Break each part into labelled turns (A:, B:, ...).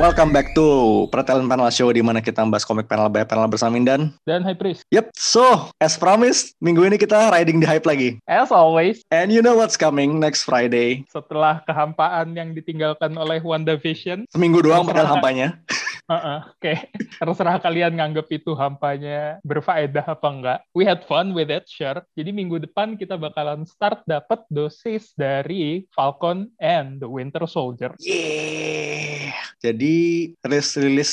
A: Welcome back to Pretelan Panel Show di mana kita membahas komik panel by panel bersama Mindan.
B: dan High Priest.
A: Yep, so as promised, minggu ini kita riding the hype lagi.
B: As always,
A: And you know what's coming next Friday.
B: setelah kehampaan yang ditinggalkan oleh WandaVision,
A: Seminggu doang
B: Terserah.
A: padahal hampanya.
B: heeh, oke, terserah kalian nganggep itu hampanya berfaedah apa enggak. We had fun with it, sure. Jadi minggu depan kita bakalan start dapat dosis dari Falcon and the Winter Soldier.
A: Yeah. Jadi rilis-rilis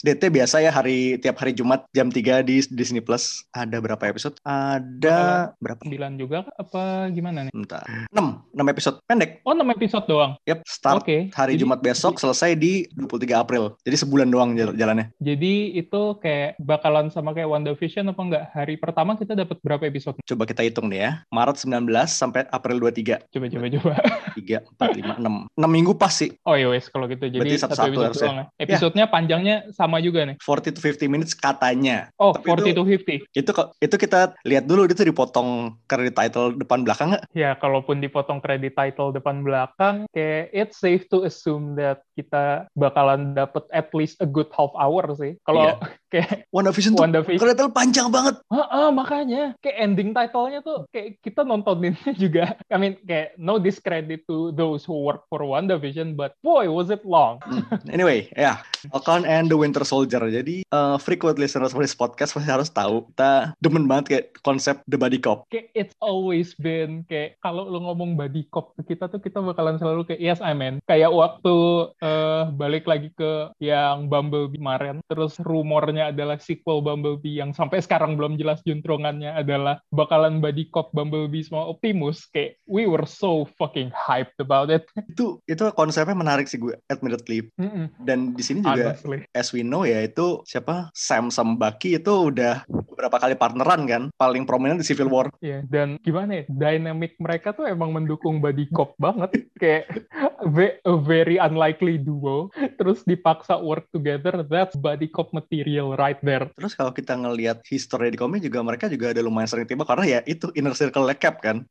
A: DT biasa ya hari tiap hari Jumat jam 3 di Disney Plus. Ada berapa episode? Ada berapa?
B: 9 juga kah? apa gimana nih?
A: Bentar. 6, 6 episode pendek.
B: Oh, 6 episode doang.
A: Yep, start
B: Oke.
A: hari
B: Jadi-
A: Jumat besok selesai di 23 April. Jadi sebulan doang jal- jalannya.
B: Jadi itu kayak bakalan sama kayak WandaVision apa enggak? Hari pertama kita dapat berapa episode?
A: Coba kita hitung nih ya. Maret 19 sampai April 23.
B: Coba coba coba.
A: 3, 4, 5, 6. 6 minggu pas sih.
B: Oh iya wes kalau gitu. Jadi
A: Berarti satu-satu
B: episode
A: harusnya.
B: doang ya. Episodenya panjangnya sama juga nih.
A: 40 to 50 minutes katanya.
B: Oh,
A: Tapi
B: 40
A: itu-
B: to 50.
A: Itu kok itu kita lihat dulu itu dipotong kredit title depan belakang nggak?
B: Ya, kalaupun dipotong kredit title depan belakang, kayak it's safe to assume that kita bakalan dapet at least a good half hour sih. Kalau kayak
A: Iya. WandaVision tuh
B: WandaVision,
A: kredit title panjang banget.
B: heeh, makanya kayak ending title-nya tuh kayak kita nontoninnya juga. I mean, kayak no discredit to those who work for WandaVision, but boy, was it long.
A: Hmm. Anyway, ya. Falcon and the Winter Soldier. Jadi eh, frequent listeners for this podcast pasti harus tahu kita demen banget kayak konsep The Body Cop.
B: Kayak it's always been kayak kalau lu ngomong body cop ke kita tuh kita bakalan selalu kayak yes I mean kayak waktu eh, balik lagi ke yang Bumblebee kemarin terus rumornya adalah sequel Bumblebee yang sampai sekarang belum jelas juntrungannya adalah bakalan body cop Bumblebee sama Optimus kayak we were so fucking hyped about it
A: Itu itu konsepnya menarik sih gue admittedly.
B: Mm-mm,
A: Dan di sini juga
B: honestly
A: as we know ya itu siapa Sam sama Bucky itu udah beberapa kali partneran kan paling prominent di Civil War
B: ya dan gimana ya dynamic mereka tuh emang mendukung body cop banget kayak ve- a very unlikely duo terus dipaksa work together that's body cop material right there
A: terus kalau kita ngelihat history di komik juga mereka juga ada lumayan sering tiba karena ya itu inner circle cap kan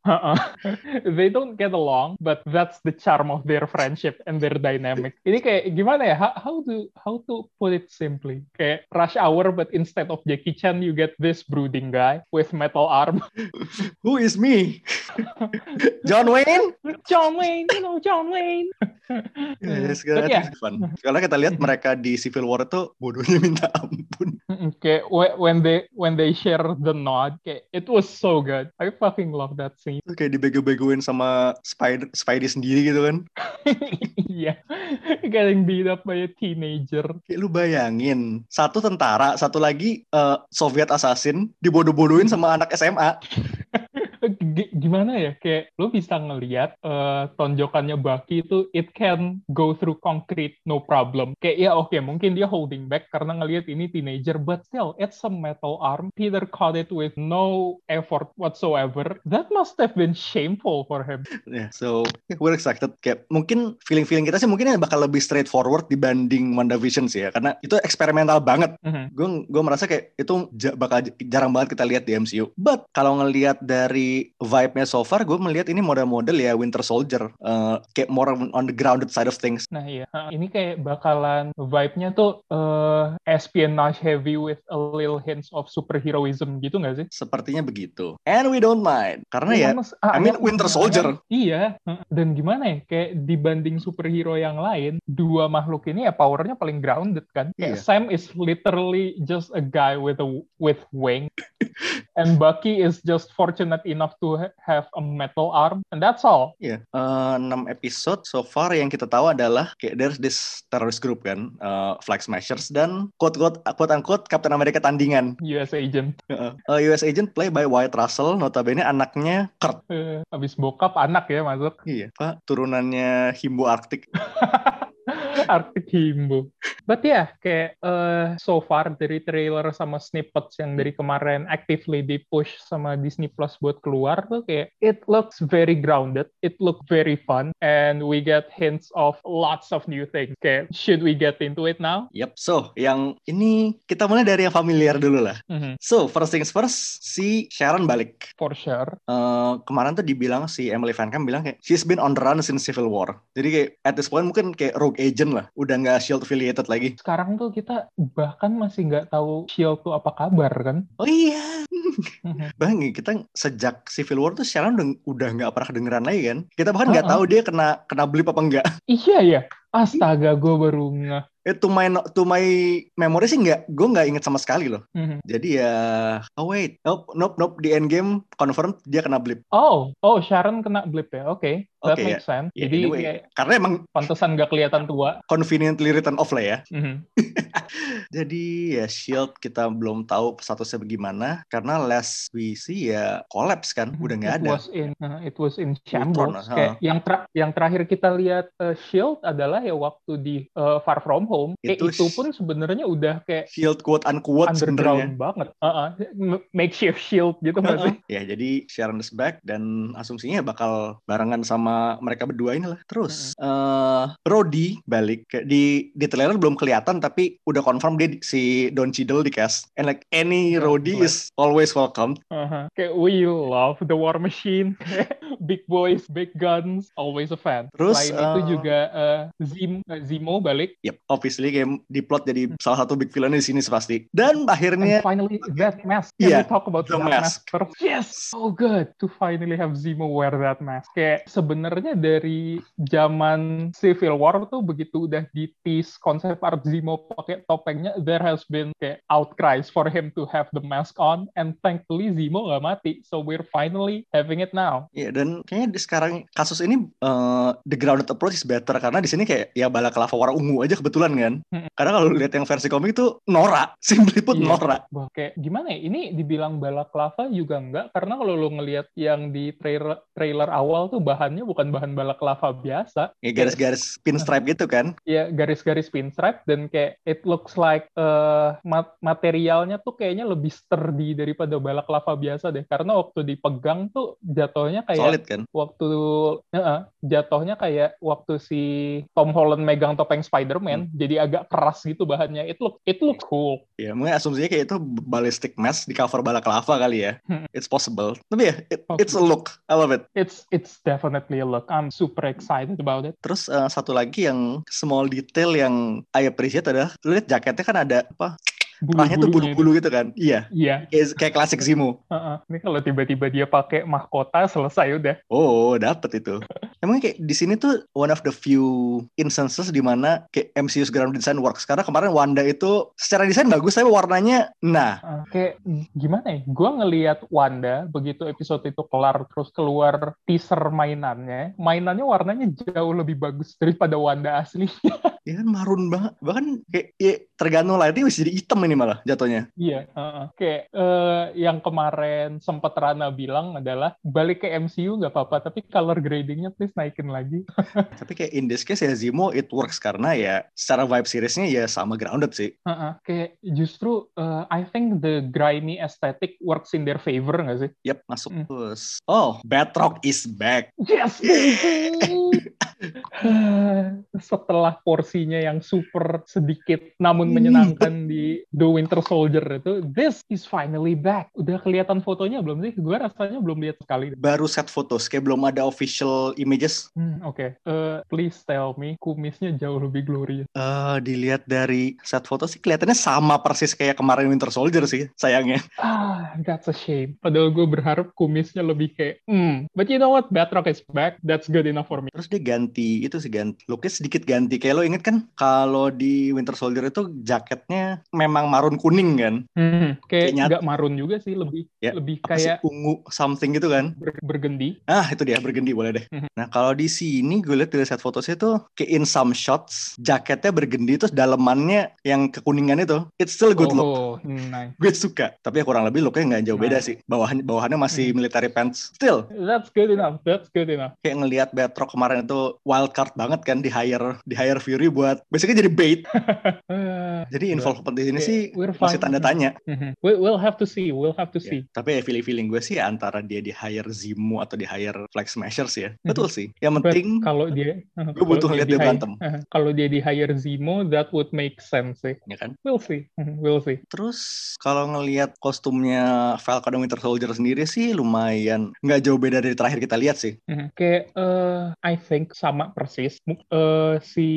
B: they don't get along but that's the charm of their friendship and their dynamic ini kayak gimana ya how, how to how to put it simply kayak rush hour but instead of Jackie Chan you get this brooding guy with metal arm
A: who is me John Wayne
B: John Wayne you know John Wayne
A: yes,
B: Tapi ya, Hmm.
A: fun. karena kita lihat mereka di Civil War itu bodohnya minta ampun
B: Mm-mm, Kayak whe- when they when they share the nod, kayak it was so good. I fucking love that scene.
A: Itu kayak dibego-begoin sama Spider Spidey sendiri gitu kan
B: yeah, Iya. getting beat up by a teenager.
A: kayak lu bayangin satu tentara satu lagi eh, Soviet assassin dibodoh-bodohin sama anak SMA
B: Eh, gi- Gimana ya? Kayak lo bisa ngelihat eh, tonjokannya Bucky itu it can go through concrete no problem. Kayak ya oke mungkin dia holding back karena ngelihat ini teenager, but still it's a metal arm. Peter caught it with no effort whatsoever. That must have been shameful for him.
A: Yeah, Ya, so we're excited. Kayak mungkin feeling-feeling kita sih mungkin ya bakal lebih straightforward dibanding WandaVision sih ya, karena itu eksperimental banget.
B: Mhm.
A: Gue gue merasa kayak itu ja- bakal j- jarang banget kita lihat di MCU. But kalau ngelihat dari vibe-nya so far, gue melihat ini model-model ya Winter Soldier, eh, kayak more on on the grounded side of things.
B: Nah iya, Ha, ini kayak bakalan vibe-nya tuh eh, espionage heavy with a little hints of superheroism gitu nggak sih?
A: Sepertinya begitu. And we don't mind, karena ya.
B: Mas- ah,
A: I mean,
B: yang-
A: Winter Soldier.
B: Iya, Ha, dan gimana ya, kayak dibanding superhero yang lain, dua makhluk ini ya powernya paling grounded kan.
A: Iya.
B: Kayak Sam is literally just a guy with a with wing, and Bucky is just fortunate enough to ha- have a metal arm, and that's all.
A: Iya, eh, enam episode so far yang kita tahu adalah kayak there's this terrorist group kan, eh, Flag Smashers dan quote quote quote unquote Captain America tandingan.
B: US agent,
A: Heeh. Uh, US agent play by Wyatt Russell, notabene anaknya Kurt.
B: Eh, habis bokap anak ya masuk.
A: Iya, Pak. Turunannya Himbo Arktik.
B: Arctic Himbo. But yeah, kayak eh, so far dari trailer sama snippets yang dari kemarin actively di push sama Disney Plus buat keluar tuh kayak it looks very grounded, it look very fun, and we get hints of lots of new things. Kayak should we get into it now?
A: Yep. So, yang ini kita mulai dari yang familiar dulu lah.
B: Mhm,
A: So, first things first, si Sharon balik.
B: For sure.
A: Eh, kemarin tuh dibilang si Emily Van Camp bilang kayak she's been on the run since Civil War. Jadi kayak at this point mungkin kayak rogue agent lah, udah nggak shield affiliated lagi.
B: Sekarang tuh kita bahkan masih nggak tahu Shield tuh apa kabar kan?
A: Oh iya,
B: Mhm.
A: bang kita sejak Civil War tuh Sharon udah udah nggak pernah kedengeran lagi kan? Kita bahkan nggak
B: Uh-uh.
A: tahu dia kena kena blip apa enggak.
B: iya ya. Astaga, gue baru ngeh.
A: Eh, to my no- to my memory sih nggak, gue nggak inget sama sekali loh.
B: Mhm.
A: Jadi ya, oh wait, nope, nope, nope, di endgame confirm dia kena blip.
B: Oh, oh Sharon kena blip ya. Oke,
A: Oke,
B: that makes sense.
A: Ya,
B: Jadi
A: anyway,
B: kayak
A: karena emang
B: pantesan nggak kelihatan tua.
A: conveniently written off lah ya.
B: Mhm.
A: Jadi ya Shield kita belum tahu statusnya bagaimana karena last we see ya collapse kan udah nggak
B: It
A: ada.
B: was in, uh, it was in
A: Ultron,
B: shambles.
A: ha.
B: Kayak yang ter- yang terakhir kita lihat uh, Shield adalah ya waktu di uh, Far From Home. Kayak
A: Itu
B: itu
A: sh-
B: pun sebenarnya udah kayak
A: Shield quote unquote sebenarnya.
B: underground banget. Uh-uh. M- Makeshift Shield gitu nggak sih?
A: Heeh. Ya jadi Sharon is back dan asumsinya bakal barengan sama mereka berdua inilah. Terus eh Brody balik Kayak di di trailer belum kelihatan tapi udah confirm dia di- si Don Cheadle di cast. And like any
B: Iya,
A: Rhodey
B: betul.
A: is always welcome.
B: Uh-huh. Kayak we love the War Machine, big boys, big guns, always a fan.
A: Terus,
B: Selain
A: uh,
B: itu juga uh, Zim, uh, Zimo balik.
A: Yep, obviously game diplot jadi
B: Hmm.
A: salah satu big villain di sini pasti. Dan akhirnya
B: And finally, that mask. Can
A: Yeah,
B: we talk about
A: the
B: that mask.
A: mask.
B: first? Yes, so good to finally have Zemo wear that mask. Kayak sebenarnya dari zaman Civil War tuh begitu udah di tease konsep art Zemo pakai topengnya, there has been kayak outcries for him to have the mask on, and thankfully Zemo gak mati, so we're finally having it now.
A: Iya dan kayaknya di sekarang kasus ini eh, the grounded approach is better karena di sini kayak ya bala kelapa warna ungu aja kebetulan kan.
B: Mm-mm.
A: Karena kalau lihat yang versi komik itu Nora, simply put
B: Iya.
A: Nora.
B: Wah, kayak gimana ya? Ini dibilang balaklava juga enggak, karena kalau lo ngelihat yang di trailer, trailer awal tuh bahannya bukan bahan balaklava biasa,
A: Ya garis-garis pinstripe gitu kan.
B: ya garis-garis pinstripe dan kayak it looks like eh, mat- materialnya tuh kayaknya lebih sturdy daripada balaklava biasa deh karena waktu dipegang tuh jatuhnya kayak
A: Solid kan.
B: waktu Heeh, jatuhnya kayak waktu si Tom Holland megang topeng
A: Hmm.
B: Spider-Man jadi agak keras gitu bahannya it look it look cool
A: Ya mungkin asumsinya kayak itu ballistic mask di cover bala kelapa kali ya.
B: Mm.
A: It's possible. Tapi ya it- it's a look. I love it.
B: it's it's definitely a look I'm super excited about it
A: Terus eh, satu lagi yang small detail yang I appreciate adalah lu lihat jaketnya kan ada apa? Rahnya tuh
B: Bulu-bulunya itu. ya.
A: bulu-bulu gitu kan. Iya.
B: iya
A: Kayak, kayak klasik Zimo.
B: heeh. ini kalau tiba-tiba dia pakai mahkota selesai udah
A: Oh, dapet itu. Emang kayak di sini tuh one of the few instances di mana kayak MCU's ground design works. Karena kemarin Wanda itu secara desain bagus, tapi warnanya nah.
B: Uh, kayak gimana ya? Gue ngelihat Wanda begitu episode itu kelar terus keluar teaser mainannya, mainannya warnanya jauh lebih bagus daripada Wanda asli.
A: Ya kan marun banget. Bahkan kayak ya, tergantung lighting bisa jadi hitam ini malah jatuhnya.
B: Iya. uh-uh. Kayak eh, yang kemarin sempet Rana bilang adalah balik ke MCU nggak apa-apa, tapi color gradingnya please naikin lagi.
A: Tapi kayak in this case ya Zemo it works karena ya secara vibe seriesnya ya sama grounded sih.
B: Uh-uh. Kayak justru eh, I think the grimy aesthetic works in their favor nggak sih?
A: Yap, masuk
B: Hmm.
A: terus. Oh, Batroc is back.
B: Yes, baby. Setelah porsinya yang super sedikit namun menyenangkan di The Winter Soldier itu, this is finally back. Udah kelihatan fotonya belum sih? Gue rasanya belum lihat sekali.
A: Baru set fotos, kayak belum ada official images.
B: Hmm, Oke, Eh, please tell me kumisnya jauh lebih glorious.
A: eh dilihat dari set foto sih kelihatannya sama persis kayak kemarin Winter Soldier sih sayangnya.
B: Ah, that's a shame. Padahal gue berharap kumisnya lebih kayak, hmm. But you know what? Batroc is back. That's good enough for me.
A: Terus dia ganti itu sih ganti looknya sedikit ganti. Kayak lo inget kan kalau di Winter Soldier itu jaketnya memang marun kuning kan,
B: Hmm, kayak
A: Kayaknya-
B: nggak marun juga sih, lebih
A: Ya,
B: lebih
A: apa sih
B: kayak
A: ungu something gitu kan.
B: ber- bergendi.
A: Ah itu dia bergendi boleh deh.
B: Mhm.
A: Nah kalau di sini gue lihat dari set fotonya itu kayak in some shots jaketnya bergendi terus dalemannya yang kekuningan itu it's still a good look.
B: Oh, Nah. nice.
A: Gue suka, tapi ya kurang lebih looknya nggak jauh beda
B: Nice.
A: sih. Bawahan
B: Mhm.
A: bawahannya masih military pants. Still,
B: That's good enough. That's good enough.
A: kayak ngelihat Batroc kemarin itu wild card banget kan di hire di hire Fury buat basically jadi bait.
B: Ah,
A: Jadi involvement di sini
B: Oke,
A: sih
B: we're
A: masih
B: fine. Iya.
A: tanda tanya.
B: Mhm. We- We'll have to see. We'll have to see.
A: Tapi ya feeling feeling gue sih ya antara dia di hire Zimo atau di hire Flag Smashers ya.
B: Mhm.
A: Betul sih. Yang
B: But
A: penting
B: kalau dia, uh-huh,
A: gue butuh lihat dia berantem,
B: Kalau dia di hire Zemo, that would make sense. Sih.
A: ya kan?
B: We'll see. Mhm, We'll see.
A: Terus kalau ngelihat kostumnya Falcon dan Winter Soldier sendiri sih lumayan nggak jauh beda dari terakhir kita lihat sih.
B: Mhm. Kayak eh, I think sama persis Mu- eh, si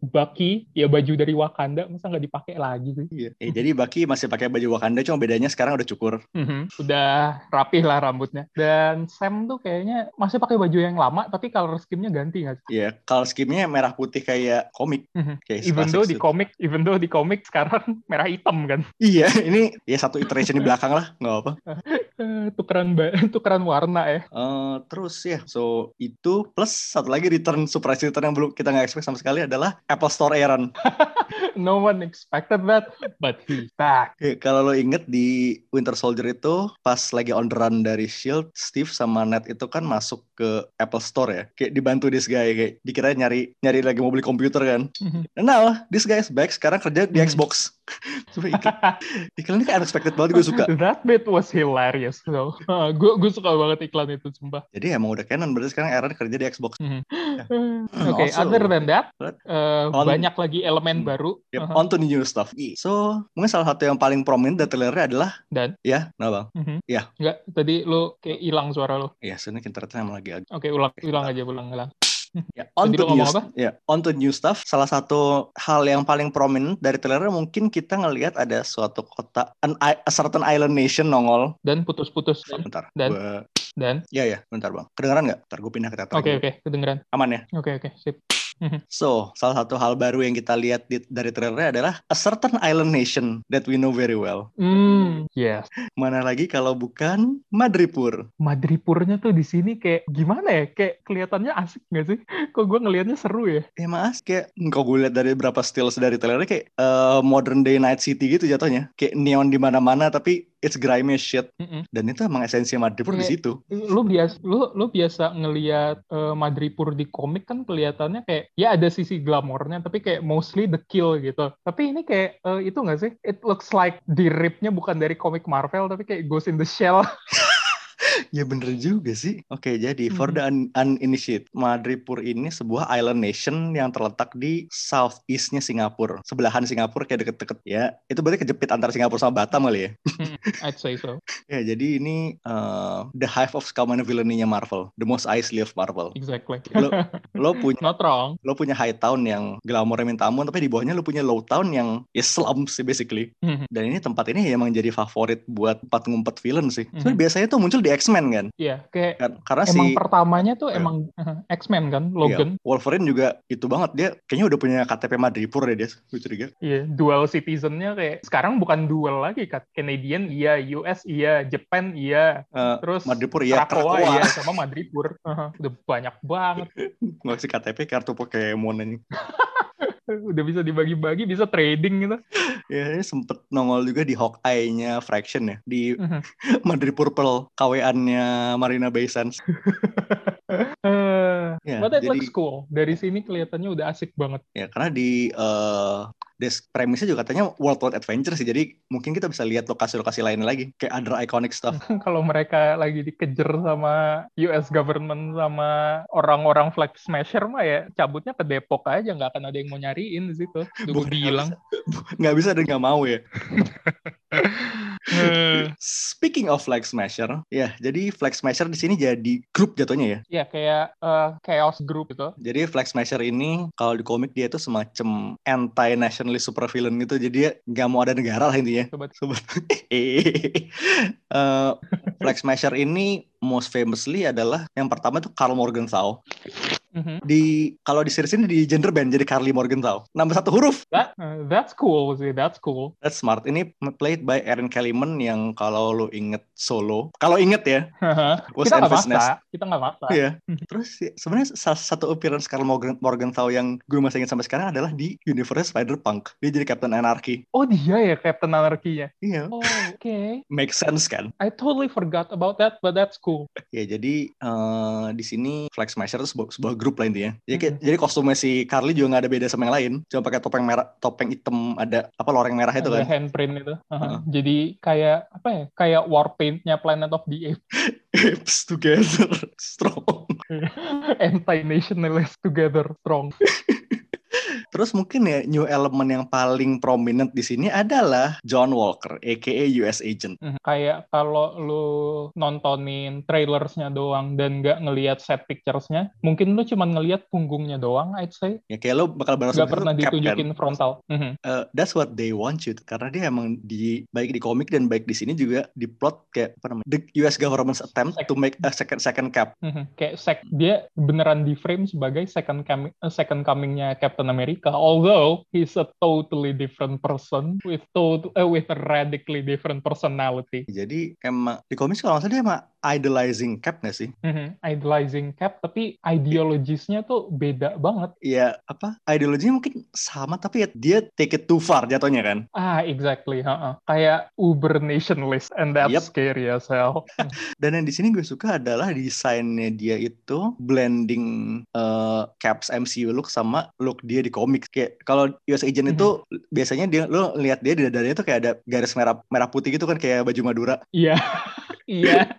B: Bucky ya baju dari Wakanda masa nggak dipakai lagi sih.
A: Iya. Eh, jadi Bucky masih pakai baju Wakanda cuma bedanya sekarang udah cukur.
B: Mhm. Udah rapih lah rambutnya. Dan Sam tuh kayaknya masih pakai baju yang lama tapi color scheme-nya ganti nggak? sih?
A: Iya, kalau skimnya merah putih kayak komik.
B: Mhm.
A: Kayak
B: Even though di
A: classic suit.
B: komik, even though di komik sekarang merah hitam kan.
A: Iya, ini ya satu iteration di belakang lah, nggak apa.
B: Eh, tukeran ba- tukeran warna ya.
A: Eh, terus ya, so itu plus satu lagi return surprise return yang belum kita nggak expect sama sekali adalah Apple Store Aaron.
B: No one expected that, but he's back.
A: Oke, Eh, kalau lo inget di Winter Soldier itu pas lagi on the run dari Shield, Steve sama Ned itu kan masuk ke Apple Store ya, kayak dibantu this guy kayak dikira nyari nyari lagi mau beli komputer kan. And now this guy is back sekarang kerja di
B: Hmm.
A: Xbox. Sumpah, iklan, iklan ini kayak unexpected banget gue suka.
B: That bit was hilarious though. gue gue suka banget iklan itu sumpah.
A: Jadi emang udah canon berarti sekarang Aaron kerja di Xbox.
B: Oke,
A: Hmm, Also-
B: other than that,
A: What?
B: eh,
A: On-
B: banyak lagi elemen
A: Hmm.
B: baru Ah,
A: Yep,
B: Aha.
A: on to the new stuff. So, mungkin salah satu yang paling prominent dari trailernya adalah
B: dan
A: ya, nah bang,
B: Mhm.
A: Ya.
B: Nggak, tadi lu kayak hilang suara lu.
A: ya sebenarnya internetnya emang lagi agak.
B: Oke, ulang
A: Oke,
B: ulang aja, ulang ulang.
A: Ya, on
B: Tadi
A: to the
B: lu
A: new,
B: ngomong apa?
A: ya, on to the new stuff. Salah satu hal yang paling prominent dari trailernya mungkin kita ngelihat ada suatu kota, an, i- a certain island nation nongol.
B: Dan putus-putus
A: Bentar,
B: Dan?
A: gua-
B: dan
A: ya ya, bentar bang. Kedengaran nggak? Bentar, gue pindah ke teater.
B: oke oke kedengeran.
A: Aman ya?
B: Oke oke sip.
A: So, salah satu hal baru yang kita lihat di- dari trailernya adalah a certain island nation that we know very well.
B: Hmm, yes.
A: Mana lagi kalau bukan Madripur.
B: Madripurnya tuh di sini kayak gimana ya? Kayak kelihatannya asik nggak sih? Kok gue ngelihatnya seru ya?
A: Ya maaf kayak kau gue lihat dari berapa stills dari trailernya kayak eh, modern day night city gitu jatuhnya. Kayak neon di mana-mana tapi it's grimy as shit.
B: Mm-mm.
A: Dan itu emang esensi Madripoor di
B: Iya.
A: situ.
B: Lu biasa lu lu biasa ngelihat eh, Madripur di komik kan kelihatannya kayak ya ada sisi glamornya tapi kayak mostly the kill gitu. Tapi ini kayak eh, itu nggak sih? It looks like diripnya bukan dari komik Marvel tapi kayak Ghost in the Shell.
A: Ya bener juga sih. Hmm. Oke, jadi for
B: Mhm.
A: the un- uninitiated, Madripoor ini sebuah island nation yang terletak di southeastnya Singapura. Sebelahan Singapura kayak deket-deket ya. Itu berarti kejepit antara Singapura sama Batam kali ya.
B: I'd say so.
A: Ya, jadi ini eh, the hive of common villainy-nya Marvel. The most icy of Marvel.
B: Exactly.
A: Lo, lo punya
B: Not wrong.
A: lo punya high town yang glamornya minta ampun tapi di bawahnya lo punya low town yang ya slum sih basically
B: Mhm.
A: dan ini tempat ini ya emang jadi favorit buat tempat ngumpet villain sih
B: Mhm.
A: Sebenarnya biasanya tuh muncul di X-Men kan
B: Iya, kayak
A: Kar- karena si
B: emang pertamanya tuh
A: Iya.
B: emang eh, X-Men kan,
A: iya,
B: Logan.
A: Wolverine juga itu banget dia kayaknya udah punya KTP Madripoor deh dia gue curiga
B: Iya, dual citizen-nya kayak sekarang bukan dual lagi kan. Canadian iya, US iya, Japan iya.
A: Eh,
B: Terus
A: Madripoor ya
B: Krakoa,
A: Krakoa
B: iya, sama Madripur. Aha, udah banyak banget.
A: nggak sih KTP kartu Pokemon ini
B: Udah bisa dibagi-bagi, bisa trading gitu.
A: ya ini sempet nongol juga di Hawkeye-nya Fraction ya di
B: Mhm.
A: Madripoor Pearl KWN-nya Marina Bay Sands
B: Eh,
A: ya,
B: But it
A: jadi-
B: looks cool. Dari sini kelihatannya udah asik banget.
A: Ya, karena di eh des- premisnya juga katanya World Wide Adventure sih. Jadi mungkin kita bisa lihat lokasi-lokasi lain lagi kayak other iconic stuff.
B: Kalau mereka lagi dikejer sama US government sama orang-orang flag smasher mah ya cabutnya ke Depok aja nggak akan ada yang mau nyariin di situ. Udah gue
A: Bukan
B: bilang.
A: nggak bisa dan nggak mau ya.
B: Hmm.
A: Speaking of Flag Smasher, ya jadi Flag Smasher di sini jadi grup jatuhnya ya.
B: ya kayak eh, chaos group gitu.
A: Jadi Flag Smasher ini kalau di komik dia itu semacam anti nationalist supervillain gitu. Jadi dia nggak mau ada negara lah intinya.
B: Sobat.
A: Sobat. Eh, Flag Smasher ini most famously adalah yang pertama itu Carl Morgenthau.
B: Mhm.
A: di kalau di series ini di gender band jadi Carly Morgenthau. Nambah satu huruf.
B: That- eh, that's cool sih, that's cool.
A: That's smart. Ini played by Aaron Kellyman yang kalau lu inget solo, kalau inget ya, Was
B: kita nggak
A: Elvis
B: maksa, kita nggak maksa.
A: Iya. Terus ya, sebenarnya salah satu appearance Carl Morgan Morgenthau yang gue masih ingat sampai sekarang adalah di universe Spider-Punk. Dia jadi Captain Anarchy.
B: Oh dia ya Captain Anarchy-nya.
A: Iya,
B: Oh, oke.
A: make sense kan?
B: I totally forgot about that, but that's cool.
A: Ya jadi eh, di sini Flag Smasher itu sebuah, sebuah grup lah intinya. Jadi, kayak-
B: Mhm.
A: jadi kostumnya si Carly juga nggak ada beda sama yang lain. Cuma pakai topeng merah, topeng hitam ada apa loreng merah itu
B: Ada
A: kan.
B: handprint itu. Aha.
A: Heeh.
B: Jadi kayak apa ya? Kayak war paint-nya Planet of the Apes.
A: Apes together strong.
B: Anti-nationalist together strong.
A: Terus mungkin ya new element yang paling prominent di sini adalah John Walker, aka US Agent.
B: Mhm. Kayak kalau lu nontonin trailersnya doang dan nggak ngelihat set pictures-nya, mungkin lu cuman ngelihat punggungnya doang, I'd say.
A: Ya kayak lo bakal bareng
B: Nggak
A: sama
B: pernah
A: Cap kan?
B: ditunjukin frontal. Mhm.
A: Eh, that's what they want you to- karena dia emang di baik di komik dan baik di sini juga di plot kayak apa namanya the US government's attempt to make a second second cap
B: Mhm, kayak sec dia beneran di frame sebagai second coming second comingnya Captain America although he's a totally different person with tot eh, with a radically different personality
A: jadi emang di komik sih kalau nggak salah dia emang idolizing cap nggak sih
B: Mhm, idolizing Cap tapi ideologisnya tuh beda banget
A: ya apa ideologinya mungkin sama tapi ya dia take it too far jatuhnya kan
B: ah exactly ha-ha. kayak uber nationalist and that's
A: Yep.
B: scary as hell
A: dan yang di sini gue suka adalah desainnya dia itu blending eh, caps MCU look sama look dia di komik kayak kalau US Agent itu biasanya dia lo lihat dia di dadanya tuh kayak ada garis merah merah putih gitu kan kayak baju Madura
B: iya iya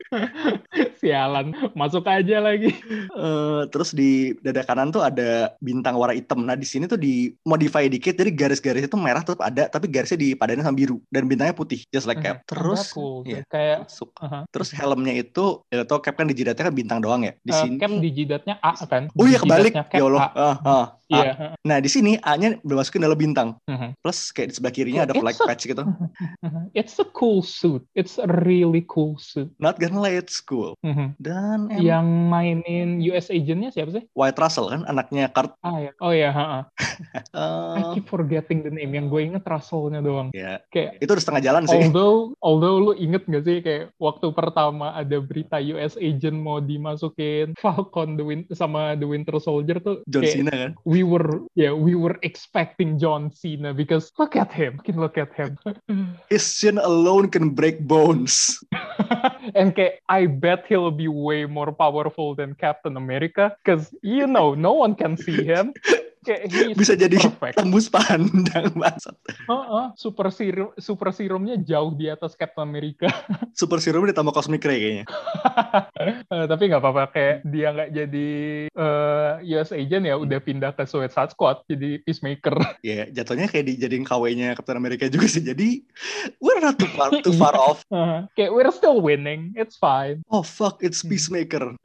B: sialan masuk aja lagi
A: Eh, terus di dada kanan tuh ada bintang warna hitam. Nah di sini tuh di modify dikit, jadi garis-garisnya tuh merah tetap ada, tapi garisnya dipadanin sama biru dan bintangnya putih, just like
B: Mhm,
A: Cap. Terus,
B: cool.
A: iya,
B: kayak
A: masuk.
B: Aha.
A: Terus helmnya itu, ya lo tau Cap kan di jidatnya kan bintang doang ya. Di
B: eh,
A: sini.
B: Cap di jidatnya A kan
A: Oh iya
B: Di
A: kebalik,
B: jidatnya Cap
A: ya Allah.
B: A.
A: Ah, ah, ah.
B: Iya.
A: Nah di sini A-nya udah masukin dalam bintang,
B: Mhm.
A: plus kayak di sebelah kirinya
B: Oh,
A: ada flag
B: it's a-
A: patch gitu.
B: It's a cool suit. It's a really cool suit.
A: Not gonna let school.
B: Mhm.
A: Dan em,
B: Yang mainin US agentnya siapa sih?
A: White Russell kan anaknya Kurt.
B: Ah ya. Oh ya. ha-ha. I
A: Eh,
B: keep forgetting the name. Yang gue inget Russell-nya doang.
A: ya
B: Kayak
A: itu udah setengah jalan sih.
B: although although lu inget gak sih kayak waktu pertama ada berita US agent mau dimasukin Falcon the Win- sama the Winter Soldier tuh
A: John
B: kayak
A: Cena kan.
B: we were yeah we were expecting John Cena because look at him, Fucking look at him.
A: His sin alone can break bones.
B: And kayak, I bet he'll be way more powerful than Captain America, because you know, no one can see him. Kayak, he's
A: Bisa jadi
B: perfect.
A: tembus pandang bangsat.
B: Heeh, super serum, super serumnya jauh di atas Captain America.
A: Super serum ditambah cosmic ray kayaknya.
B: Eh, tapi nggak apa-apa, kayak dia nggak jadi eh, US agent ya, udah pindah ke Suicide Squad, jadi peacemaker.
A: Ya, jatuhnya kayak dijadiin KW-nya Captain America juga sih. Jadi we're not too far, too far off.
B: Heeh. Eh, kayak, we're still winning, it's fine.
A: Oh fuck, it's peacemaker.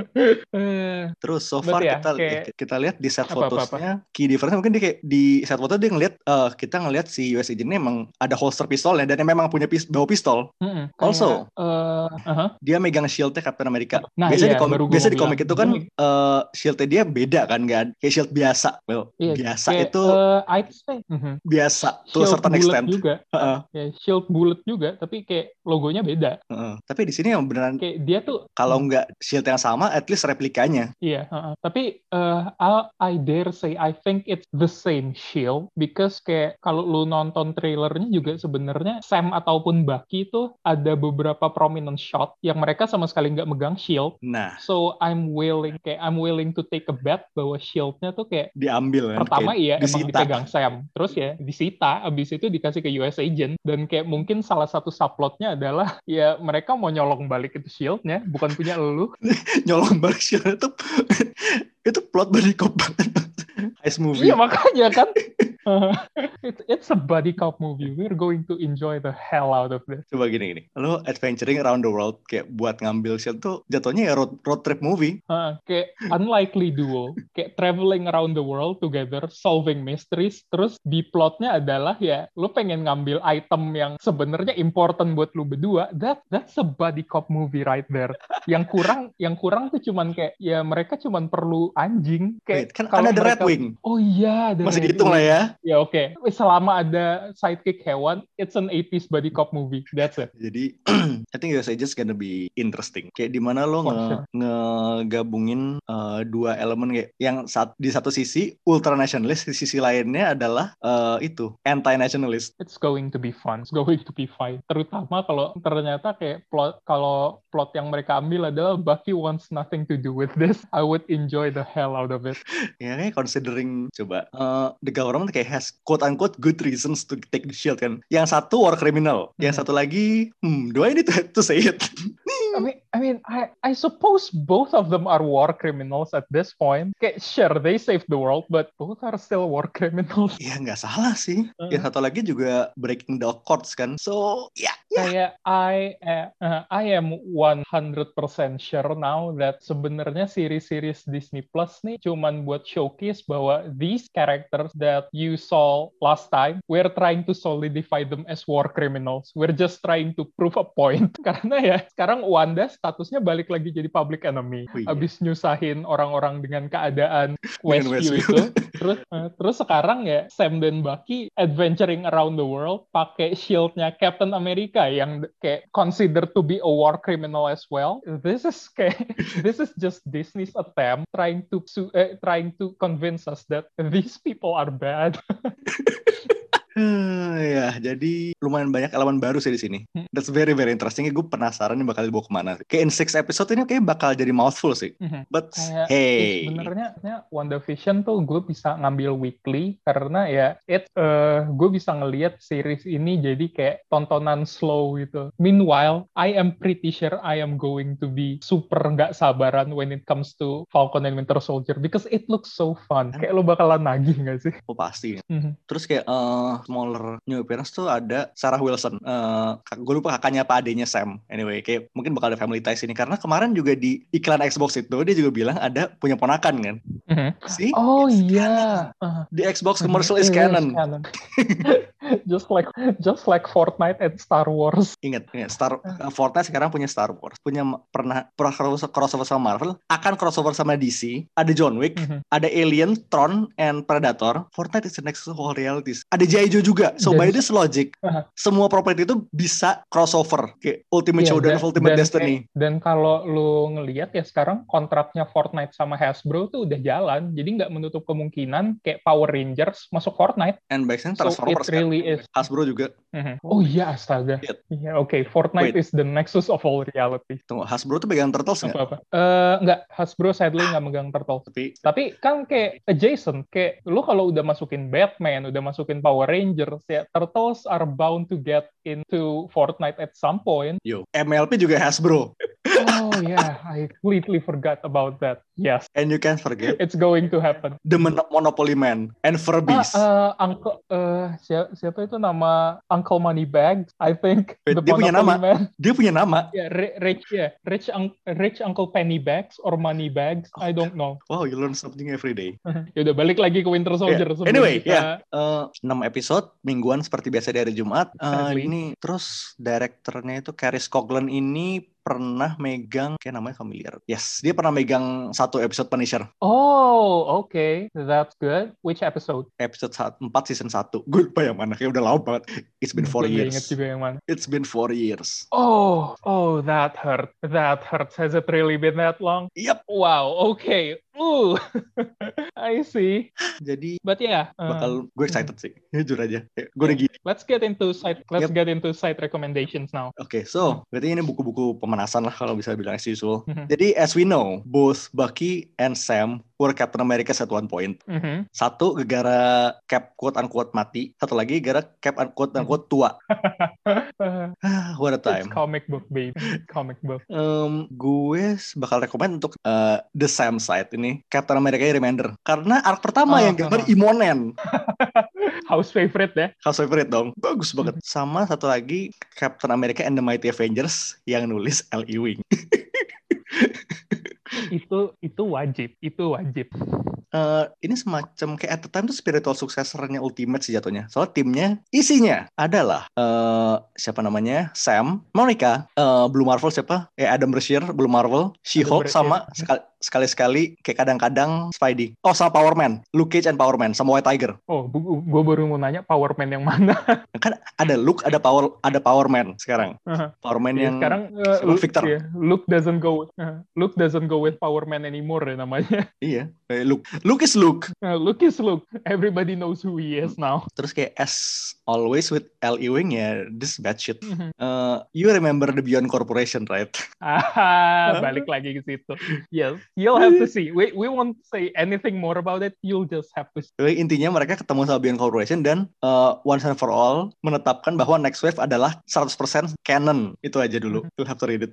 B: Eh,
A: Terus so
B: Berarti
A: far
B: ya,
A: kita
B: kayak-
A: eh, kita lihat di set
B: Apa, apa,
A: fotonya key difference mungkin dia kayak di set foto dia ngeliat eh, kita ngeliat si US agent ini emang ada holster pistolnya dan memang punya pis bawa pistol.
B: heeh, kayak,
A: Also.
B: eh, aha.
A: Dia megang shieldnya Captain America.
B: Nah,
A: biasanya
B: iya,
A: di komik,
B: baru gua
A: biasanya di
B: mau
A: komik
B: bilang.
A: itu kan
B: Dia-
A: eh, shieldnya dia beda kan nggak ada- kayak shield biasa. Well,
B: Iya,
A: biasa
B: kayak,
A: itu
B: eh, I'd say, mhm.
A: biasa to a
B: Shield
A: certain
B: bullet
A: extent.
B: juga
A: Heeh,
B: ya shield bullet juga tapi kayak logonya beda
A: heeh. Tapi di sini yang beneran
B: kayak dia tuh
A: kalau nggak shield yang sama, at least replikanya.
B: iya heeh. tapi eh, I, I dare say I think it's the same shield because kayak kalau lu nonton trailernya juga sebenarnya Sam ataupun Bucky itu ada beberapa prominent shot yang mereka sama sekali nggak megang shield
A: Nah,
B: so I'm willing kayak I'm willing to take a bet bahwa shieldnya tuh kayak
A: diambil kan.
B: Pertama
A: kayak
B: iya emang
A: disita.
B: dipegang Sam, terus ya disita, abis itu dikasih ke US agent dan kayak mungkin salah satu subplotnya adalah ya mereka mau nyolong balik itu shieldnya, bukan punya elu.
A: nyolong balik shield itu itu plot berikop banget. Ice movie.
B: iya makanya kan. It- it's a buddy cop movie. We're going to enjoy the hell out of this.
A: Coba gini gini. Lo adventuring around the world kayak buat ngambil shield tuh jatuhnya ya road, road trip movie.
B: Heeh, kayak unlikely duo, kayak traveling around the world together, solving mysteries. Terus di plotnya adalah ya, lu pengen ngambil item yang sebenarnya important buat lu berdua. That that's a buddy cop movie right there. Yang kurang, yang kurang tuh cuman kayak ya mereka cuman perlu anjing. Kayak
A: Wait, kan
B: kalau
A: ada The Red
B: mereka-
A: Wing.
B: Oh iya, ada
A: Masih
B: Red
A: dihitung
B: Wing.
A: lah ya.
B: ya oke. Selama ada sidekick hewan, it's an 80s buddy cop movie. That's it.
A: Jadi I think Yosei just gonna be interesting. Kayak di mana lo
B: For
A: nge-
B: sure.
A: ngegabungin eh, dua elemen kayak yang saat di satu sisi ultra nationalist, di sisi lainnya adalah eh, itu anti nationalist.
B: It's going to be fun. It's going to be fine. Terutama kalau ternyata kayak plot kalau plot yang mereka ambil adalah Bucky wants nothing to do with this. I would enjoy the hell out of it.
A: Ya kayak considering coba eh, the government kayak has quote unquote good reasons to take the shield kan. Yang satu war criminal, yang
B: Mhm.
A: satu lagi hmm do I need to, to say it?
B: I mean, I mean, I, I suppose both of them are war criminals at this point. Okay, sure, they saved the world, but both are still war criminals.
A: ya nggak salah sih.
B: Mhm.
A: Yang satu lagi juga breaking the chords kan. So ya
B: Kayak I, eh, eh, I am 100% sure now that sebenarnya series-series Disney Plus nih cuman buat showcase bahwa these characters that you saw last time, we're trying to solidify them as war criminals. We're just trying to prove a point. Karena ya sekarang Wanda statusnya balik lagi jadi public enemy.
A: Wih.
B: Abis nyusahin orang-orang dengan keadaan
A: Dengan
B: Westview
A: Westview.
B: itu. terus eh, terus sekarang ya Sam dan Bucky adventuring around the world pakai shieldnya Captain America yang kayak considered to be a war criminal as well this is kayak this is just Disney's attempt trying to su- eh, trying to convince us that these people are bad
A: Hmm, ya, jadi lumayan banyak elemen baru sih di sini.
B: Hmm.
A: That's very very interesting. Gue penasaran nih bakal dibawa kemana. Kayak in six episode ini kayak bakal jadi mouthful sih.
B: Mhm.
A: But
B: Kayak iya,
A: hey,
B: sebenarnya sebenarnya WandaVision tuh gue bisa ngambil weekly karena ya it eh, gue bisa ngelihat series ini jadi kayak tontonan slow gitu. Meanwhile, I am pretty sure I am going to be super nggak sabaran when it comes to Falcon and Winter Soldier because it looks so fun. Kayak lo bakalan nagih nggak sih?
A: oh pasti.
B: Mhm.
A: Terus kayak eh, smaller new appearance tuh ada Sarah Wilson. Eh, gue lupa kakaknya apa adanya Sam. Anyway, kayak mungkin bakal ada family ties ini karena kemarin juga di iklan Xbox itu dia juga bilang ada punya ponakan kan.
B: Mhm.
A: See?
B: Oh
A: It's
B: iya. Ah.
A: canon. The Xbox commercial is canon.
B: just like just like Fortnite and Star Wars.
A: Ingat, ingat, Star eh,
B: Ah.
A: Fortnite sekarang punya Star Wars, punya ma- pernah pernah crossover- crossover sama Marvel, akan crossover sama DC, ada John Wick,
B: Mhm.
A: ada Alien, Tron, and Predator. Fortnite is the next whole realities. Ada G.I. Joe juga. So
B: Dan-
A: by this logic,
B: Aha.
A: semua properti itu bisa crossover. Kayak Ultimate
B: Iya,
A: Showdown,
B: dan-
A: Ultimate
B: dan-
A: Destiny.
B: Dan kalau lu ngelihat ya sekarang kontraknya Fortnite sama Hasbro tuh udah jalan, jadi nggak menutup kemungkinan kayak Power Rangers masuk Fortnite.
A: And by then
B: So it
A: Transformers. kan.
B: really is.
A: Hasbro juga.
B: Mhm. Oh iya astaga. Iya
A: Shit.
B: oke Fortnite is the nexus of all reality.
A: Tunggu, Hasbro tuh pegang Turtles nggak?
B: Apa apa? Eh nggak Hasbro sadly nggak megang Turtle.
A: Tapi
B: Tapi kan kayak adjacent, kayak lu kalau udah masukin Batman, udah masukin Power Rangers, ya Turtles are bound to get into Fortnite at some point.
A: yo, MLP juga Hasbro.
B: Oh yeah, I completely forgot about that. Yes.
A: And you can't forget
B: It's going to happen.
A: The Mon- Monopoly Man and Furbies.
B: Ah, eh, uncle, eh, sia- siapa itu nama Uncle Moneybags? I think
A: Wait, dia punya
B: Monopoly
A: nama?
B: Man.
A: Dia punya nama.
B: Yeah, ri- rich, yeah, rich, un- rich Uncle Pennybags or Moneybags.
A: Oh,
B: I don't know.
A: Wow, you learn something every day.
B: Ya udah balik lagi ke Winter Soldier. sebelum
A: Anyway,
B: kita-
A: yeah. eh 6 episode mingguan seperti biasa dari Jumat. Eh,
B: Exactly.
A: ini terus direkturnya itu Karis Coughlin ini pernah megang kayak namanya familiar. Yes, dia pernah megang satu episode Punisher,
B: Oh, okay, that's good. Which episode?
A: episode 4 season 1. Gue lupa yang mana, kayak udah lama banget. It's been four
B: Gue nggak ingat
A: years.
B: juga yang mana.
A: It's been four years.
B: Oh, oh, that hurt. That hurts. Has it really been that long?
A: Yep.
B: Wow. Okay. Ooh, I see.
A: Jadi
B: But yeah. eh,
A: bakal gue excited sih. Jujur aja. Kayak Gue udah gini.
B: Let's get into site. Let's get into site recommendations now.
A: Oke, so berarti ini buku-buku pemanasan lah kalau bisa bilang as usual.
B: Mhm.
A: Jadi as we know, both Bucky and Sam were Captain America at one point.
B: Mhm.
A: Satu gara cap quote unquote mati, satu lagi gara cap unquote
B: Hmm.
A: unquote tua.
B: Uh,
A: Ah, What a
B: it's
A: time.
B: comic book, baby. It's comic book.
A: Em, gue bakal rekomend untuk eh, The Sam Side ini Captain America Remender karena arc pertama
B: Ah,
A: yang gambar
B: ah.
A: Imonen
B: House favorite ya? deh.
A: house favorite dong bagus banget sama satu lagi Captain America and the Mighty Avengers yang nulis L. E Ewing
B: Itu itu wajib. Itu wajib.
A: Eh, ini semacam kayak at the time tuh spiritual suksesornya Ultimate sih jatuhnya. Soalnya timnya isinya adalah eh siapa namanya Sam, Monica, eh, Blue Marvel siapa? Eh Adam Brashear, Blue Marvel, She-Hulk
B: Brashear.
A: sama sekal- sekali-sekali kayak kadang-kadang Spidey. Oh, sama Power Man. Luke Cage and Power Man sama White Tiger.
B: Oh, gue baru mau nanya Power Man yang mana?
A: Kan ada Luke, ada Power, ada Power Man sekarang. Power Man
B: Ya,
A: yang
B: sekarang uh,
A: siapa?
B: Luke,
A: Victor.
B: ya, Luke doesn't go uh, Luke doesn't go with Power Man anymore ya namanya.
A: iya, eh, Luke. Luke is Luke.
B: Uh, Luke is Luke. Everybody knows who he is now.
A: Terus kayak as always with L. Ewing ya, this bad shit.
B: Mm-hmm.
A: Eh, you remember the Beyond Corporation, right?
B: Ah, balik lagi ke situ. Yes, you'll have to see. We we won't say anything more about it. You'll just have to. See.
A: Jadi Eh, intinya mereka ketemu sama Beyond Corporation dan eh, once and for all menetapkan bahwa Next Wave adalah 100% canon. Itu aja dulu. You'll have to read it.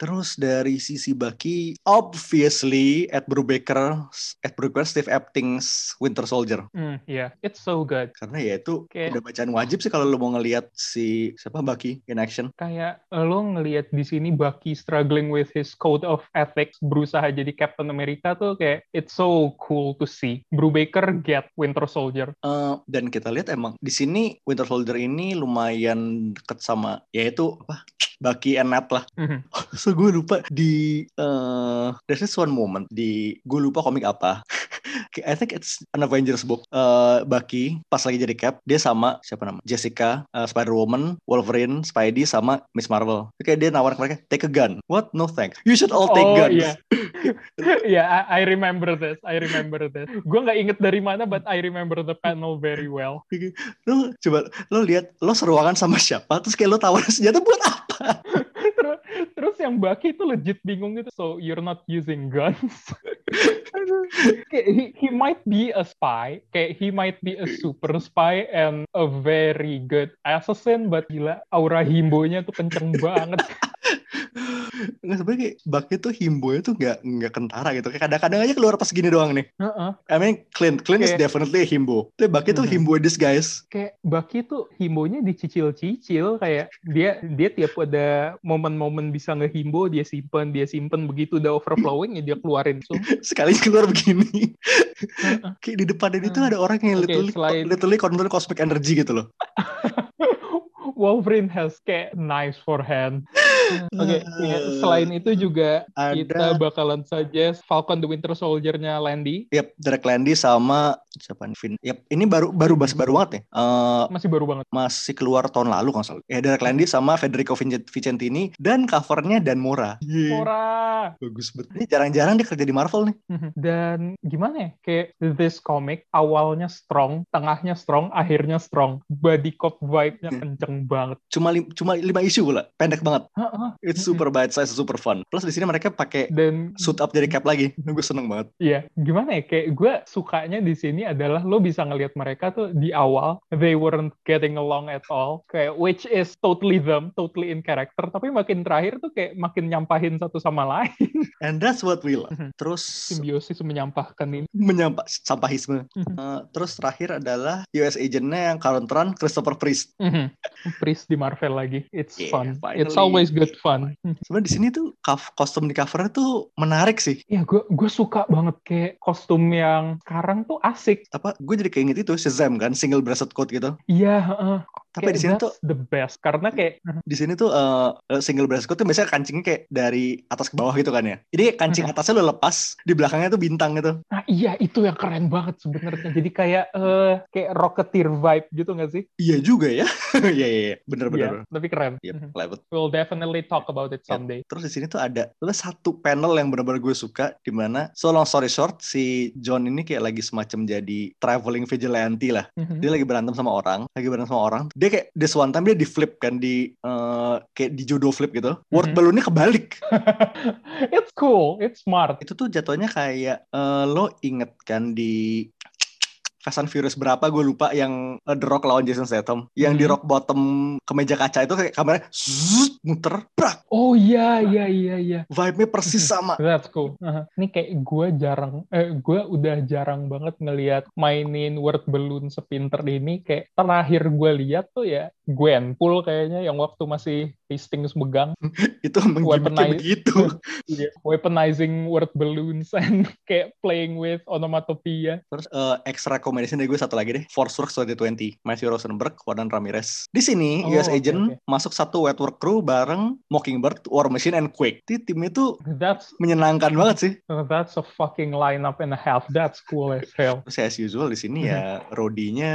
A: Terus dari sisi Bucky, obviously Ed Brubaker, Ed Brubaker, Steve Epting's Winter Soldier.
B: Mm, yeah, it's so good.
A: Karena ya itu
B: Oke.
A: udah bacaan wajib sih kalau lo mau ngelihat si siapa Bucky in action.
B: Kayak eh, lo ngelihat di sini Bucky struggling with his code of ethics, berusaha jadi Captain America tuh kayak it's so cool to see. Brubaker get Winter Soldier.
A: Eh, dan kita lihat emang di sini Winter Soldier ini lumayan deket sama yaitu apa Bucky and Nat lah.
B: Mhm.
A: So gue lupa di eh there's this one moment di gue lupa komik apa. I think it's an Avengers book. Eh, Bucky pas lagi jadi Cap dia sama siapa nama Jessica, eh, Spider Woman, Wolverine, Spidey sama Miss Marvel. Oke dia nawarin ke mereka take a gun. What? No thanks. You should all take
B: oh
A: guns.
B: iya, yeah, I, I remember this. I remember this. Gue nggak inget dari mana, but I remember the panel very well.
A: Lo coba lo lihat lo seruangan sama siapa terus kayak lo tawarin senjata buat apa?
B: terus terus yang Baki itu legit bingung gitu so you're not using guns Kayak he, he might be a spy kayak he might be a super spy and a very good assassin but gila aura himbonya tuh kenceng banget
A: Nggak sebenarnya kayak Bucky tuh himbonya tuh nggak nggak kentara gitu. Kayak kadang-kadang aja keluar pas gini doang nih.
B: Heeh.
A: I mean Clint Clint is
B: Kayak-
A: definitely a himbo. Tapi Bucky tuh
B: Mhm.
A: himbo in disguise.
B: kayak Baki tuh himbonya dicicil-cicil kayak dia dia tiap ada momen-momen bisa ngehimbo dia simpen dia simpen begitu udah overflowing ya dia keluarin so
A: Sekali keluar begini. kayak di depan ini tuh ada orang yang
B: Hmm. Oke,
A: literally,
B: selain-
A: literally control cosmic energy gitu loh.
B: Wolverine has kayak nice forehand. Oke, ya, selain itu juga kita
A: Ada
B: bakalan suggest Falcon the Winter Soldier-nya Landy.
A: Yep, Derek Landy sama siapa nih? Vin. Yep, ini baru baru
B: Hmm.
A: bas baru banget nih. Eh,
B: Masih baru banget.
A: masih keluar tahun lalu kalau nggak salah. Ya Derek
B: Hmm.
A: Landy sama Federico Vincent- Vicentini dan covernya Dan Mora. Yeay,
B: Ora.
A: Bagus banget. Ini jarang-jarang dia kerja di Marvel nih.
B: Dan gimana ya? Kayak this comic awalnya strong, tengahnya strong, akhirnya strong. Body cop vibe-nya kenceng banget.
A: Cuma lim- cuma lima isu pula, pendek banget.
B: Heeh.
A: It's super bite size, super fun. Plus di sini mereka pakai
B: Dan
A: suit up jadi cap lagi. Gue seneng banget.
B: Iya, gimana ya? Kayak gue sukanya di sini adalah lo bisa ngelihat mereka tuh di awal they weren't getting along at all, kayak which is totally them, totally in character. Tapi makin terakhir tuh kayak makin nyampahin satu sama lain.
A: And that's what we love.
B: Mhm.
A: Terus
B: Simbiosis menyampahkan ini.
A: menyampah sampahisme.
B: Mhm.
A: Eh, terus terakhir adalah US agentnya yang current run Christopher Priest.
B: Priest Mhm. di Marvel lagi. It's
A: Yeah,
B: fun. It's
A: finally.
B: always good fun. Mhm.
A: Sebenarnya di sini tuh cof- kostum di covernya tuh menarik sih.
B: Ya, gue gue suka banget kayak kostum yang sekarang tuh asik.
A: Apa gue jadi keinget itu Shazam kan single breasted coat gitu.
B: Iya, heeh.
A: Tapi
B: Kayak
A: di sini
B: that's
A: tuh
B: the best karena kayak
A: di sini tuh eh, single breasted coat tuh biasanya kancingnya kayak dari atas ke bawah gitu kan ya. Ini kancing atasnya lo lepas, di belakangnya tuh bintang gitu.
B: Nah, iya itu yang keren banget sebenarnya. Jadi kayak eh kayak rocketeer vibe gitu nggak sih?
A: Iya juga ya. Iya iya iya. bener bener.
B: Iya, tapi keren.
A: Yep,
B: Mhm.
A: clever.
B: We'll definitely talk about it someday.
A: Terus di sini tuh ada ada satu panel yang benar-benar gue suka di mana so long story short si John ini kayak lagi semacam jadi traveling vigilante lah.
B: Mhm.
A: Dia lagi berantem sama orang, lagi berantem sama orang. Dia kayak this one time dia di flip kan di eh, kayak di judo flip gitu. Word
B: Mhm.
A: balloonnya kebalik.
B: It's cool, it's smart.
A: Itu tuh jatuhnya kayak eh, lo inget kan di Fast and Furious berapa gue lupa yang eh, The Rock lawan Jason Statham yang di
B: Mhm.
A: rock bottom kemeja kaca itu kayak kameranya zzz, muter brak
B: Oh iya iya iya iya.
A: vibe-nya persis sama
B: That's cool. Aha. Ini kayak gue jarang, eh, gue udah jarang banget ngelihat mainin word balloon sepinter ini. Kayak terakhir gue lihat tuh ya Gwenpool kayaknya yang waktu masih Hastings megang.
A: itu menggimiknya
B: Weaponize.
A: begitu
B: Iya. Weaponizing word balloons and kayak playing with onomatopoeia.
A: Terus eh, extra recommendation dari gue satu lagi deh, Force Works 2020, Matthew Rosenberg, Warren Ramirez. Di sini
B: Oh,
A: US
B: oke,
A: Agent
B: oke.
A: masuk satu Wetwork Crew bareng Mockingbird, War Machine, and Quake. Jadi tim itu
B: That's
A: menyenangkan banget sih.
B: that's a fucking lineup and a half. That's cool as hell.
A: Terus as usual di sini ya
B: Mm-hmm.
A: Rodinya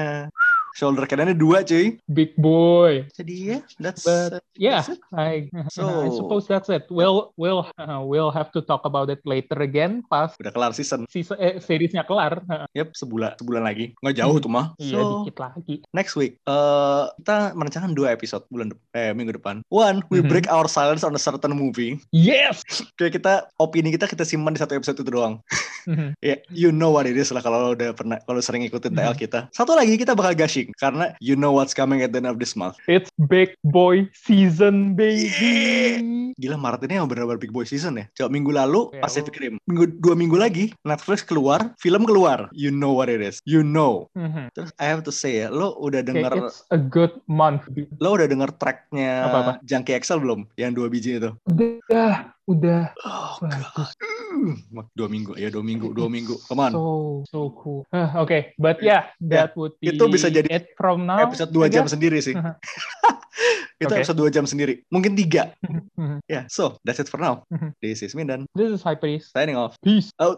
A: shoulder cannonnya dua cuy.
B: Big boy.
A: Jadi ya that's
B: But- Yeah,
A: That's it.
B: I,
A: So-
B: I suppose that's it. We'll we'll uh, we'll have to talk about it later again pas
A: udah kelar season.
B: season eh, seriesnya kelar. Uh,
A: Yep, sebulan sebulan lagi. Nggak jauh tuh mah.
B: Iya,
A: So,
B: dikit lagi.
A: next week eh kita merencanakan dua episode bulan de- eh minggu depan. One, we
B: Mhm.
A: break our silence on a certain movie.
B: Yes.
A: Kayak kita opini kita kita simpan di satu episode itu doang.
B: Mhm.
A: Ya, you know what it is lah kalau lo udah pernah kalau sering ikutin TL
B: Mhm.
A: kita. Satu lagi kita bakal gashing karena you know what's coming at the end of this month.
B: It's big boy season, baby.
A: Gila Maret ini emang benar-benar big boy season ya. Coba minggu lalu
B: Ya,
A: Pacific
B: lu-
A: Rim. Minggu dua minggu lagi Netflix keluar, film keluar. You know what it is. You know.
B: Mhm.
A: Terus I have to say ya, lo udah
B: Okay,
A: denger
B: it's a good month. dude.
A: lo udah denger tracknya
B: Apa-apa?
A: Junkie Excel belum? Yang dua biji itu.
B: Udah, udah.
A: Oh,
B: Bagus.
A: God. dua minggu ya dua minggu dua minggu. Come on.
B: So so cool. Huh, okay, but yeah, that would be
A: Itu bisa jadi
B: it from now.
A: episode dua
B: I
A: jam
B: guess. Mm-hmm.
A: sendiri sih.
B: Aha.
A: Itu
B: Okay.
A: episode dua jam sendiri. Mungkin tiga.
B: Mhm.
A: Ya, so that's it for now.
B: Mhm.
A: This is Mindan
B: This is Hyperis.
A: signing off.
B: Peace.
A: Out.